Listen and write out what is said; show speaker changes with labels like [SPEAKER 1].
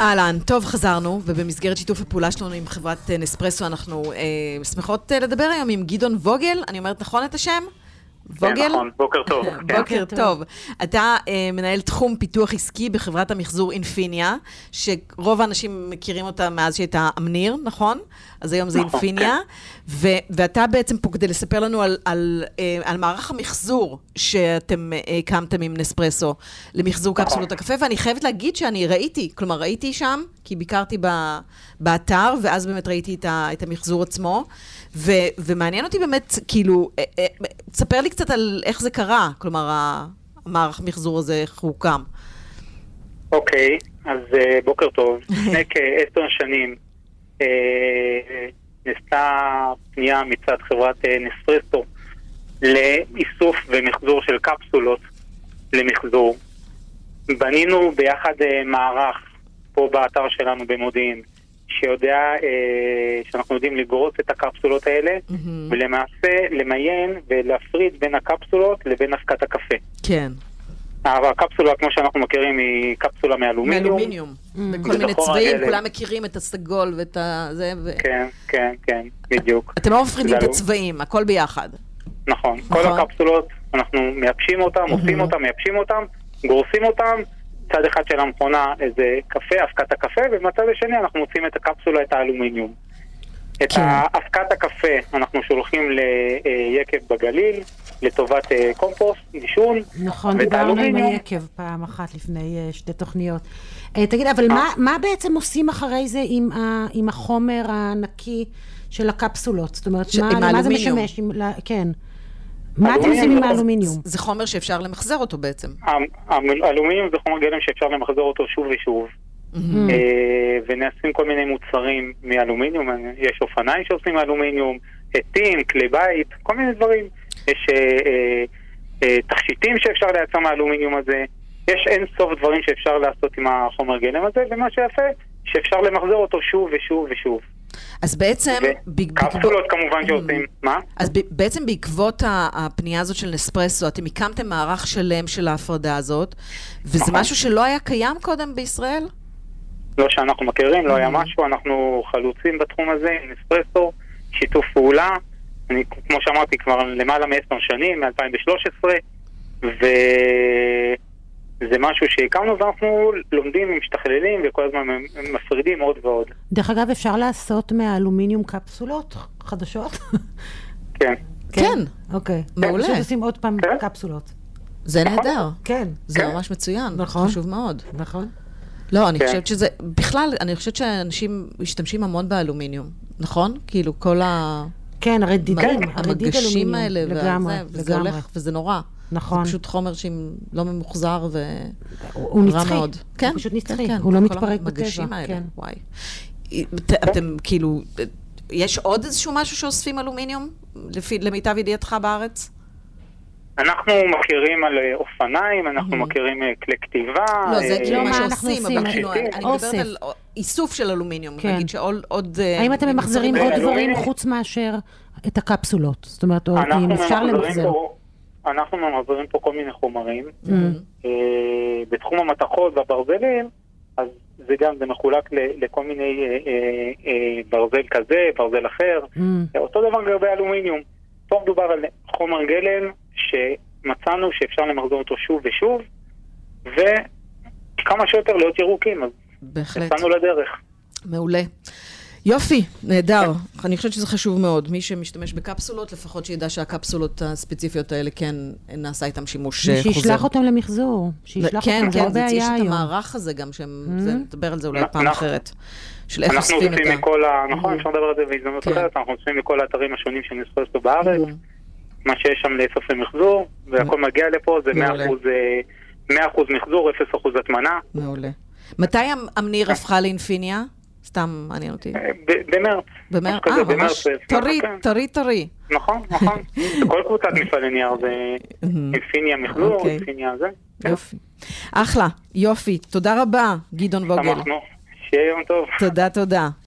[SPEAKER 1] אהלן, טוב, חזרנו, ובמסגרת שיתוף הפעולה שלנו עם חברת אה, נספרסו, אנחנו אה, שמחות אה, לדבר היום עם גדעון ווגל, אני אומרת נכון את השם?
[SPEAKER 2] כן,
[SPEAKER 1] ווגל?
[SPEAKER 2] נכון, בוקר טוב. כן.
[SPEAKER 1] בוקר טוב. אתה אה, מנהל תחום פיתוח עסקי בחברת המחזור אינפיניה, שרוב האנשים מכירים אותה מאז שהייתה אמניר, נכון? אז היום זה
[SPEAKER 2] נכון,
[SPEAKER 1] אינפיניה. ו- ואתה בעצם פה כדי לספר לנו על, על, אה, על מערך המחזור שאתם אה, הקמתם עם נספרסו למחזור
[SPEAKER 2] נכון.
[SPEAKER 1] קפסולות הקפה, ואני חייבת להגיד שאני ראיתי, כלומר ראיתי שם, כי ביקרתי ב- באתר, ואז באמת ראיתי את, ה- את המחזור עצמו, ו- ומעניין אותי באמת, כאילו, אה, אה, תספר לי קצת על איך זה קרה, כלומר, ה- המערך המחזור הזה, איך הוא הוקם.
[SPEAKER 2] אוקיי, אז אה, בוקר טוב. לפני כעשר שנים אה, נעשתה פנייה מצד חברת אה, נספרסו לאיסוף ומחזור של קפסולות למחזור. בנינו ביחד אה, מערך פה באתר שלנו במודיעין, שיודע, אה, שאנחנו יודעים לגרוס את הקפסולות האלה,
[SPEAKER 1] מהמם.
[SPEAKER 2] ולמעשה למיין ולהפריד בין הקפסולות לבין אבקת הקפה.
[SPEAKER 1] כן,
[SPEAKER 2] אבל הקפסולה, כמו שאנחנו מכירים, היא קפסולה מאלומיניום.
[SPEAKER 1] מאלומיניום. בכל מיני
[SPEAKER 2] בתוך
[SPEAKER 1] צבעים,
[SPEAKER 2] הגלם.
[SPEAKER 1] כולם מכירים את הסגול ואת ה... זה, ו...
[SPEAKER 2] נכון, כן, כן, כן, בדיוק.
[SPEAKER 1] אתם לא מפרידים את
[SPEAKER 2] זה
[SPEAKER 1] הצבעים, הכל ביחד.
[SPEAKER 2] נכון. כל
[SPEAKER 1] נכון.
[SPEAKER 2] הקפסולות, אנחנו מייבשים אותם,
[SPEAKER 3] Mhm.
[SPEAKER 2] עושים אותם, מייבשים אותם, גורסים אותם. צד אחד של המכונה איזה קפה, אבקת הקפה, ובצד השני אנחנו מוצאים את הקפסולה, את האלומיניום. את
[SPEAKER 1] כן.
[SPEAKER 2] אבקת הקפה אנחנו שולחים ליקב בגליל, לטובת אה, קומפוסט, דישון.
[SPEAKER 3] נכון,
[SPEAKER 2] ואת
[SPEAKER 3] דיברנו עם
[SPEAKER 2] האלומיניום.
[SPEAKER 3] היקב פעם אחת לפני אה, שתי תוכניות. אה, תגיד, אבל מה- מה בעצם עושים אחרי זה עם ה- עם החומר הנקי של הקפסולות? זאת אומרת,
[SPEAKER 1] ש-
[SPEAKER 3] מה-
[SPEAKER 1] עם
[SPEAKER 3] למה זה
[SPEAKER 1] האלומיניום.
[SPEAKER 3] משמש? עם ל- כן. מה אתם עושים עם
[SPEAKER 2] האלומיניום.
[SPEAKER 3] האלומיניום?
[SPEAKER 1] זה חומר שאפשר למחזר אותו בעצם.
[SPEAKER 2] האלומיניום זה חומר גלם שאפשר למחזר אותו שוב ושוב.
[SPEAKER 3] Mm.
[SPEAKER 2] אה, ונעשים כל מיני מוצרים מאלומיניום, יש אופניים שעושים מאלומיניום, עטים, כלי בית, כל מיני דברים. יש אה, אה, אה, תכשיטים שאפשר לייצר מהאלומיניום הזה, יש אין סוף דברים שאפשר לעשות עם החומר גלם הזה, ומה שיפה, שאפשר למחזר אותו שוב ושוב ושוב.
[SPEAKER 1] אז בעצם, ב- Mm.
[SPEAKER 2] וקפסולות אוקיי. כמובן שעושים, מה?
[SPEAKER 1] אז ב- בעצם בעקבות ה- הפנייה הזאת של נספרסו, אתם הקמתם מערך שלם של ההפרדה הזאת, וזה
[SPEAKER 2] נכון.
[SPEAKER 1] משהו שלא היה קיים קודם בישראל?
[SPEAKER 2] לא שאנחנו מכירים, לא היה משהו, אנחנו חלוצים בתחום הזה, עם אספרסו, שיתוף פעולה. אני, כמו שאמרתי, כבר למעלה מעשר שנים, מ-2013, וזה משהו שהקמנו ואנחנו לומדים, משתכללים וכל הזמן מפרידים עוד ועוד.
[SPEAKER 3] דרך אגב, אפשר לעשות מהאלומיניום קפסולות חדשות?
[SPEAKER 2] כן.
[SPEAKER 1] כן.
[SPEAKER 3] אוקיי.
[SPEAKER 1] מעולה.
[SPEAKER 3] פשוט עושים עוד פעם
[SPEAKER 2] כן.
[SPEAKER 3] קפסולות.
[SPEAKER 1] זה
[SPEAKER 2] נכון.
[SPEAKER 1] נהדר.
[SPEAKER 3] כן,
[SPEAKER 1] זה
[SPEAKER 2] כן.
[SPEAKER 1] ממש מצוין.
[SPEAKER 3] נכון.
[SPEAKER 1] חשוב מאוד.
[SPEAKER 3] נכון.
[SPEAKER 1] לא, אני
[SPEAKER 2] כן.
[SPEAKER 1] חושבת שזה, בכלל, אני חושבת שאנשים משתמשים המון באלומיניום, נכון? כאילו, כל ה-
[SPEAKER 3] כן, הרדידים,
[SPEAKER 1] המ-
[SPEAKER 3] הרדיד
[SPEAKER 1] המגשים האלה,
[SPEAKER 3] אלומיניום. לגמרי,
[SPEAKER 1] וזה, וזה
[SPEAKER 3] לגמרי.
[SPEAKER 1] הולך, וזה נורא.
[SPEAKER 3] נכון.
[SPEAKER 1] זה פשוט חומר שאם לא ממוחזר ו...
[SPEAKER 3] הוא הוא
[SPEAKER 1] רע
[SPEAKER 3] נצחי.
[SPEAKER 1] מאוד. כן,
[SPEAKER 3] הוא פשוט
[SPEAKER 1] כן,
[SPEAKER 3] נצחי.
[SPEAKER 1] כן.
[SPEAKER 3] הוא לא
[SPEAKER 1] כל
[SPEAKER 3] מתפרק בטבע.
[SPEAKER 1] המגשים האלה,
[SPEAKER 3] כן.
[SPEAKER 1] וואי. את- אתם כאילו, יש עוד איזשהו משהו שאוספים אלומיניום, לפי- למיטב ידיעתך בארץ?
[SPEAKER 2] אנחנו מכירים על אה, אופניים, אנחנו מכירים אה, כלי כתיבה.
[SPEAKER 1] לא, זה
[SPEAKER 2] אה,
[SPEAKER 1] כאילו
[SPEAKER 3] לא,
[SPEAKER 1] מה
[SPEAKER 3] מה אנחנו
[SPEAKER 1] שעושים,
[SPEAKER 3] עושים,
[SPEAKER 1] אבל כאילו, אני
[SPEAKER 2] אה,
[SPEAKER 1] אני מדברת
[SPEAKER 3] אוסף.
[SPEAKER 1] על איסוף של אלומיניום,
[SPEAKER 3] כן.
[SPEAKER 1] נגיד שעוד... עוד, אה,
[SPEAKER 3] האם אתם ממחזרים עוד
[SPEAKER 2] אלומיניום.
[SPEAKER 3] דברים חוץ מאשר את הקפסולות? זאת אומרת, או
[SPEAKER 2] אנחנו
[SPEAKER 3] אם אפשר
[SPEAKER 2] ממחזרים
[SPEAKER 3] למחזר.
[SPEAKER 2] פה- אנחנו ממחזרים פה כל מיני חומרים.
[SPEAKER 3] Mm-hmm.
[SPEAKER 2] אה, בתחום המתכות והברזלים, אז זה גם, זה מחולק ל- לכל מיני אה, אה, אה, ברזל כזה, ברזל אחר.
[SPEAKER 3] אמ,
[SPEAKER 2] אותו דבר לגבי אלומיניום. פה מדובר על חומר גלם שמצאנו שאפשר למחזור אותו שוב ושוב, וכמה שיותר להיות ירוקים, אז
[SPEAKER 1] בהחלט.
[SPEAKER 2] יצאנו לדרך.
[SPEAKER 1] מעולה. יופי, נהדר. אני חושבת שזה חשוב מאוד. מי שמשתמש בקפסולות, לפחות שידע שהקפסולות הספציפיות האלה, כן, נעשה איתם שימוש אה, חוזר.
[SPEAKER 3] שישלח אותם למחזור. שישלח
[SPEAKER 1] כן,
[SPEAKER 3] אותם, זה לא
[SPEAKER 1] כן, זה- יש
[SPEAKER 3] בעיה
[SPEAKER 1] את
[SPEAKER 3] היום. Mm-hmm.
[SPEAKER 1] המערך הזה גם, שהם, זה- נדבר על זה אולי
[SPEAKER 2] אנחנו-
[SPEAKER 1] פעם אחרת, של איך
[SPEAKER 2] אנחנו
[SPEAKER 1] אוספים את
[SPEAKER 2] עושים
[SPEAKER 1] ה...
[SPEAKER 2] מכל ה... נכון, אפשר לדבר על זה בהזדמנות
[SPEAKER 1] כן.
[SPEAKER 2] אחרת, אנחנו עושים מכל האתרים השונים של נספרסו בארץ, מה שיש שם לאסוף למחזור, והכל מגיע לפה, זה 100%
[SPEAKER 1] Mm-hmm. מעולה. Mm-hmm.
[SPEAKER 2] אה, 100% מחזור, 0% הטמנה.
[SPEAKER 1] מעולה. מתי אמ- אמניר הפכה לאינפיניה? סתם מעניין אותי.
[SPEAKER 2] אה, ב- במרץ.
[SPEAKER 1] במר...
[SPEAKER 2] משהו כזה,
[SPEAKER 1] אה, ממש
[SPEAKER 2] במרץ, אה,
[SPEAKER 1] טרי,
[SPEAKER 2] כן.
[SPEAKER 1] טרי, טרי.
[SPEAKER 2] נכון, נכון. כל קבוצת מפעלי נייר זה אינפיניה מחזור,
[SPEAKER 1] Mm-hmm. אוקיי.
[SPEAKER 2] אינפיניה זה.
[SPEAKER 1] יופי. אחלה, יופי. תודה רבה, גדעון ווגל.
[SPEAKER 2] שמחנו. שיהיה יום טוב.
[SPEAKER 1] תודה, תודה.